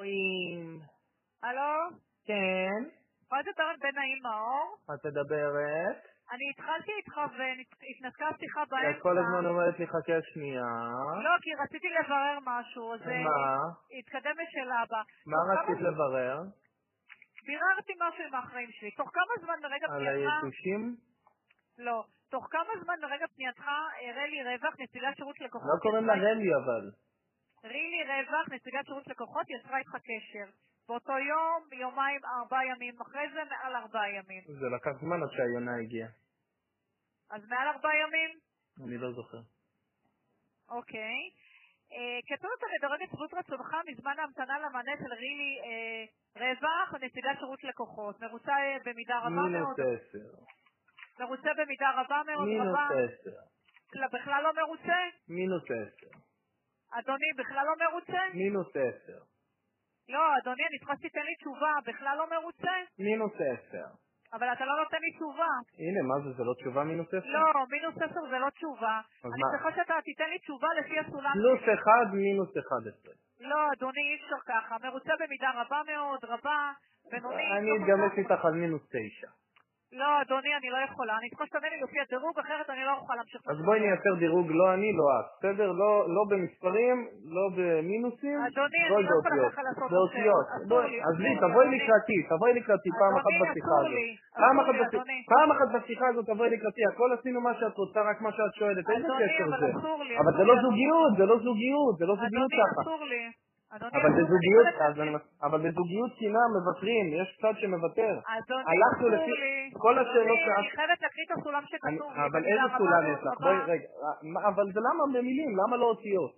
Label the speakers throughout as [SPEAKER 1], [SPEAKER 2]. [SPEAKER 1] אלוהים.
[SPEAKER 2] הלו?
[SPEAKER 1] כן,
[SPEAKER 2] עוד מדברת בן נעים מאור?
[SPEAKER 1] את מדברת?
[SPEAKER 2] אני התחלתי איתך והתנתקה שיחה
[SPEAKER 1] כי
[SPEAKER 2] באמצע.
[SPEAKER 1] את כל הזמן אומרת לי חכה שנייה.
[SPEAKER 2] לא, כי רציתי לברר משהו, אז אה,
[SPEAKER 1] מה?
[SPEAKER 2] התקדם לשאלה הבאה.
[SPEAKER 1] מה
[SPEAKER 2] תוך כמה
[SPEAKER 1] רצית
[SPEAKER 2] זמן-
[SPEAKER 1] לברר?
[SPEAKER 2] ביררתי משהו עם האחראים שלי. תוך כמה זמן מרגע
[SPEAKER 1] על
[SPEAKER 2] פנייתך...
[SPEAKER 1] היתושים?
[SPEAKER 2] לא. תוך כמה זמן מרגע פנייתך הראה לי רווח נציגת שירות לקוחות...
[SPEAKER 1] לא קוראים לה
[SPEAKER 2] יצרה-
[SPEAKER 1] רלי אבל.
[SPEAKER 2] רילי רווח, נציגת שירות לקוחות, יצרה איתך קשר. באותו יום, יומיים, ארבעה ימים אחרי זה, מעל ארבעה ימים.
[SPEAKER 1] זה לקח זמן עד שהיונה הגיעה.
[SPEAKER 2] אז מעל ארבעה ימים?
[SPEAKER 1] אני לא זוכר.
[SPEAKER 2] אוקיי. אה, כתוב אתה מדרג את שביעות רצונך מזמן ההמתנה למענה של רילי אה, רווח, נציגת שירות לקוחות. מרוצה אה, במידה רבה
[SPEAKER 1] מינוס
[SPEAKER 2] מאוד.
[SPEAKER 1] עשר.
[SPEAKER 2] מרוצה במידה רבה מאוד.
[SPEAKER 1] מינוס
[SPEAKER 2] רבה.
[SPEAKER 1] עשר.
[SPEAKER 2] לא, בכלל לא מרוצה?
[SPEAKER 1] מינוס עשר.
[SPEAKER 2] אדוני, בכלל לא מרוצה?
[SPEAKER 1] מינוס עשר.
[SPEAKER 2] לא, אדוני, אני צריכה שתיתן לי תשובה. בכלל לא מרוצה?
[SPEAKER 1] מינוס עשר.
[SPEAKER 2] אבל אתה לא נותן לי תשובה.
[SPEAKER 1] הנה, מה זה? זה לא תשובה מינוס עשר?
[SPEAKER 2] לא, מינוס 10 זה לא תשובה.
[SPEAKER 1] אז
[SPEAKER 2] אני
[SPEAKER 1] מה? לא.
[SPEAKER 2] צריכה שאתה תיתן לי תשובה לפי הסולם.
[SPEAKER 1] פלוס אחד מינוס אחד עשרה.
[SPEAKER 2] לא, אדוני, אי אפשר ככה. מרוצה במידה רבה מאוד, רבה, בינונית.
[SPEAKER 1] אני
[SPEAKER 2] לא
[SPEAKER 1] אתגמש
[SPEAKER 2] כל כך.
[SPEAKER 1] איתך על מינוס תשע.
[SPEAKER 2] לא, אדוני, אני לא יכולה. אני צריכה שתענה לי לפי הדירוג, אחרת אני לא אוכל להמשיך.
[SPEAKER 1] אז בואי נייצר דירוג לא אני, לא את, בסדר? לא, לא במספרים, לא במינוסים.
[SPEAKER 2] אדוני, אני
[SPEAKER 1] בואי
[SPEAKER 2] לא
[SPEAKER 1] באותיות.
[SPEAKER 2] יכולה ככה לעשות אוקיי,
[SPEAKER 1] באותיות.
[SPEAKER 2] אסור
[SPEAKER 1] בואי,
[SPEAKER 2] לי,
[SPEAKER 1] עזבי,
[SPEAKER 2] אסור לי,
[SPEAKER 1] תבואי
[SPEAKER 2] אדוני.
[SPEAKER 1] לקראתי, תבואי לקראתי פעם אחת
[SPEAKER 2] אדוני,
[SPEAKER 1] בשיחה
[SPEAKER 2] אסור
[SPEAKER 1] הזאת.
[SPEAKER 2] לי,
[SPEAKER 1] פעם
[SPEAKER 2] אסור
[SPEAKER 1] אחת
[SPEAKER 2] לי,
[SPEAKER 1] בשיחה-
[SPEAKER 2] אדוני.
[SPEAKER 1] פעם אחת בשיחה הזאת תבואי לקראתי, הכל עשינו מה שאת רוצה, רק מה שאת שואלת. איזה
[SPEAKER 2] אדוני,
[SPEAKER 1] קשר
[SPEAKER 2] אבל
[SPEAKER 1] זה?
[SPEAKER 2] אסור לי,
[SPEAKER 1] אבל זה
[SPEAKER 2] אסור
[SPEAKER 1] לא
[SPEAKER 2] לי,
[SPEAKER 1] זוגיות, זה לא זוגיות, זה לא זוגיות
[SPEAKER 2] אדוני,
[SPEAKER 1] ככה.
[SPEAKER 2] אסור לי. אדוני,
[SPEAKER 1] אבל
[SPEAKER 2] אסור לי.
[SPEAKER 1] בזוגיות,
[SPEAKER 2] אני
[SPEAKER 1] אז אני מס- אבל בזוגיות קינה מוותרים, יש צד שמוותר.
[SPEAKER 2] אדוני,
[SPEAKER 1] הלכנו
[SPEAKER 2] אסור
[SPEAKER 1] לפי
[SPEAKER 2] לי.
[SPEAKER 1] כל השאלות
[SPEAKER 2] אדוני, אני
[SPEAKER 1] שאת...
[SPEAKER 2] חייבת להקריא את הסולם שכתוב
[SPEAKER 1] אני-
[SPEAKER 2] לי.
[SPEAKER 1] אבל
[SPEAKER 2] במידה
[SPEAKER 1] איזה
[SPEAKER 2] רבה
[SPEAKER 1] סולם
[SPEAKER 2] מאוד
[SPEAKER 1] יש לך?
[SPEAKER 2] רבה.
[SPEAKER 1] בואי, רגע. אה, מה- אבל זה למה במילים? למה לא אותיות?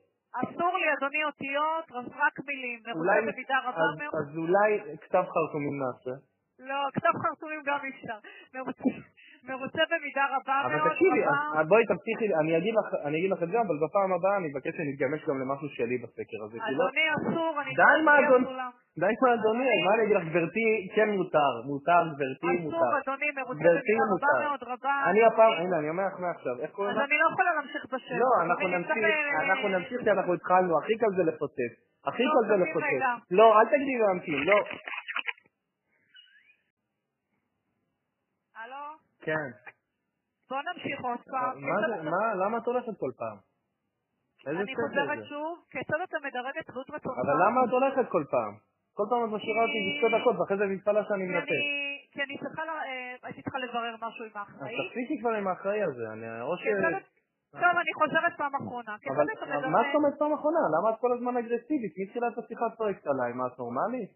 [SPEAKER 2] אסור לי, אדוני, אותיות, רק מילים. מרוצה
[SPEAKER 1] אולי...
[SPEAKER 2] במידה רבה
[SPEAKER 1] אז-
[SPEAKER 2] מאוד.
[SPEAKER 1] אז אולי כתב חרטומים נעשה.
[SPEAKER 2] לא, כתב חרטומים גם אי אפשר. מרוצה- מרוצה במידה רבה
[SPEAKER 1] אבל
[SPEAKER 2] מאוד,
[SPEAKER 1] תקשיבי,
[SPEAKER 2] רבה.
[SPEAKER 1] אז- אז בואי תבטיחי לי, אני אגיד לך- אני אגיד לך את זה, אבל בפעם הבאה אני מבקש שנתגמש גם למשהו שלי בסקר הזה, כי לא...
[SPEAKER 2] אדוני, אסור, אני
[SPEAKER 1] די מה אדוני,
[SPEAKER 2] חייבת להיות כולם.
[SPEAKER 1] די מה אדוני, מה אני אגיד לך, גברתי, כן מותר, מותר, גברתי,
[SPEAKER 2] אסור,
[SPEAKER 1] מותר.
[SPEAKER 2] אדוני, מרוצה
[SPEAKER 1] גברתי,
[SPEAKER 2] במידה רבה
[SPEAKER 1] מותר.
[SPEAKER 2] מאוד, רבה.
[SPEAKER 1] אני הפעם, הנה, אני אומר לך מעכשיו, איך קוראים
[SPEAKER 2] אז
[SPEAKER 1] לך?
[SPEAKER 2] אני לא יכולה להמשיך בשם. אה,
[SPEAKER 1] לא,
[SPEAKER 2] אדוני,
[SPEAKER 1] אנחנו
[SPEAKER 2] נמצא
[SPEAKER 1] נמשיך,
[SPEAKER 2] ב-
[SPEAKER 1] אנחנו נמשיך כי אנחנו התחלנו, הכי קל זה לפוצץ. הכי
[SPEAKER 2] לא,
[SPEAKER 1] קל זה
[SPEAKER 2] תמתין
[SPEAKER 1] לפוצץ.
[SPEAKER 2] רגע.
[SPEAKER 1] לא, אל תגידי להמתין, לא.
[SPEAKER 2] הלו?
[SPEAKER 1] כן.
[SPEAKER 2] בוא נמשיך עוד פעם.
[SPEAKER 1] מה
[SPEAKER 2] כיצד
[SPEAKER 1] זה,
[SPEAKER 2] אתה-
[SPEAKER 1] מה, למה את הולכת כל פעם? איזה
[SPEAKER 2] אני
[SPEAKER 1] ספר
[SPEAKER 2] חוזרת
[SPEAKER 1] זה?
[SPEAKER 2] שוב, כיצד אתה מדרג את שביעות רצונך?
[SPEAKER 1] אבל למה את הולכת כל פעם? כל פעם את משאירה אותי
[SPEAKER 2] כי-
[SPEAKER 1] בשתי דקות ואחרי זה מתפלא שאני
[SPEAKER 2] כי
[SPEAKER 1] מנתק.
[SPEAKER 2] אני- כי אני צריכה, ל- אה, הייתי צריכה לברר משהו עם
[SPEAKER 1] אז
[SPEAKER 2] האחראי.
[SPEAKER 1] תפסיקי כבר עם האחראי הזה, אני או ש...
[SPEAKER 2] כיצד... טוב, אני חוזרת פעם אחרונה.
[SPEAKER 1] אבל
[SPEAKER 2] כיצד אתה
[SPEAKER 1] אבל מה
[SPEAKER 2] מדרג...
[SPEAKER 1] זאת אומרת פעם אחרונה? למה את כל הזמן אגרסיבית? מתחילת השיחה את צועקת עליי, מה את נורמלית?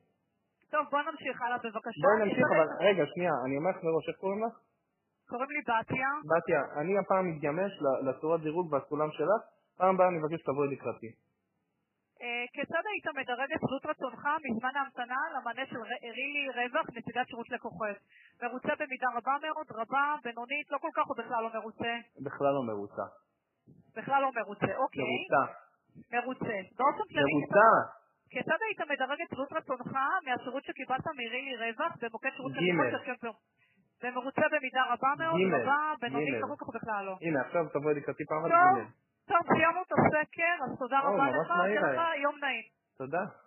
[SPEAKER 2] טוב, בוא נמשיך הלאה בבקשה.
[SPEAKER 1] בואי נמשיך,
[SPEAKER 2] כיצד
[SPEAKER 1] אבל
[SPEAKER 2] אתה-
[SPEAKER 1] רגע, שנייה, אני אומר לך מראש, איך קוראים לך?
[SPEAKER 2] קוראים לי בתיה.
[SPEAKER 1] בתיה, אני הפעם מתגמש ל- לצורת דירוג והסולם שלך, פעם הבאה אני מבקש שתבואי לקראתי.
[SPEAKER 2] אה, כיצד היית מדרג את שביעות רצונך מזמן ההמתנה למענה של ר- רילי רווח, נציגת שירות לקוחות? מרוצה במידה רבה מאוד, רבה, בינונית, לא כל כך, או בכלל לא מרוצה?
[SPEAKER 1] בכלל לא מרוצה.
[SPEAKER 2] אוקיי. בכלל לא מרוצה, אוקיי.
[SPEAKER 1] מרוצה.
[SPEAKER 2] מרוצה. באופן כללי,
[SPEAKER 1] מרוצה.
[SPEAKER 2] כיצד היית מדרג את שביעות רצונך מהשירות שקיבלת מרילי רווח במוקד שירות
[SPEAKER 1] גימל.
[SPEAKER 2] לקוחות של קמפר? ומרוצה במידה רבה מאוד,
[SPEAKER 1] גימל.
[SPEAKER 2] רבה, בינונית,
[SPEAKER 1] גימל.
[SPEAKER 2] לא כל כך בכלל לא.
[SPEAKER 1] הנה, עכשיו תבואי לקראתי פעם אחת.
[SPEAKER 2] טוב,
[SPEAKER 1] הנה.
[SPEAKER 2] טוב, סיימנו את הסקר, אז תודה
[SPEAKER 1] או,
[SPEAKER 2] רבה
[SPEAKER 1] ממש
[SPEAKER 2] לך,
[SPEAKER 1] מהיר
[SPEAKER 2] שיהיה
[SPEAKER 1] היה.
[SPEAKER 2] לך יום נעים.
[SPEAKER 1] תודה.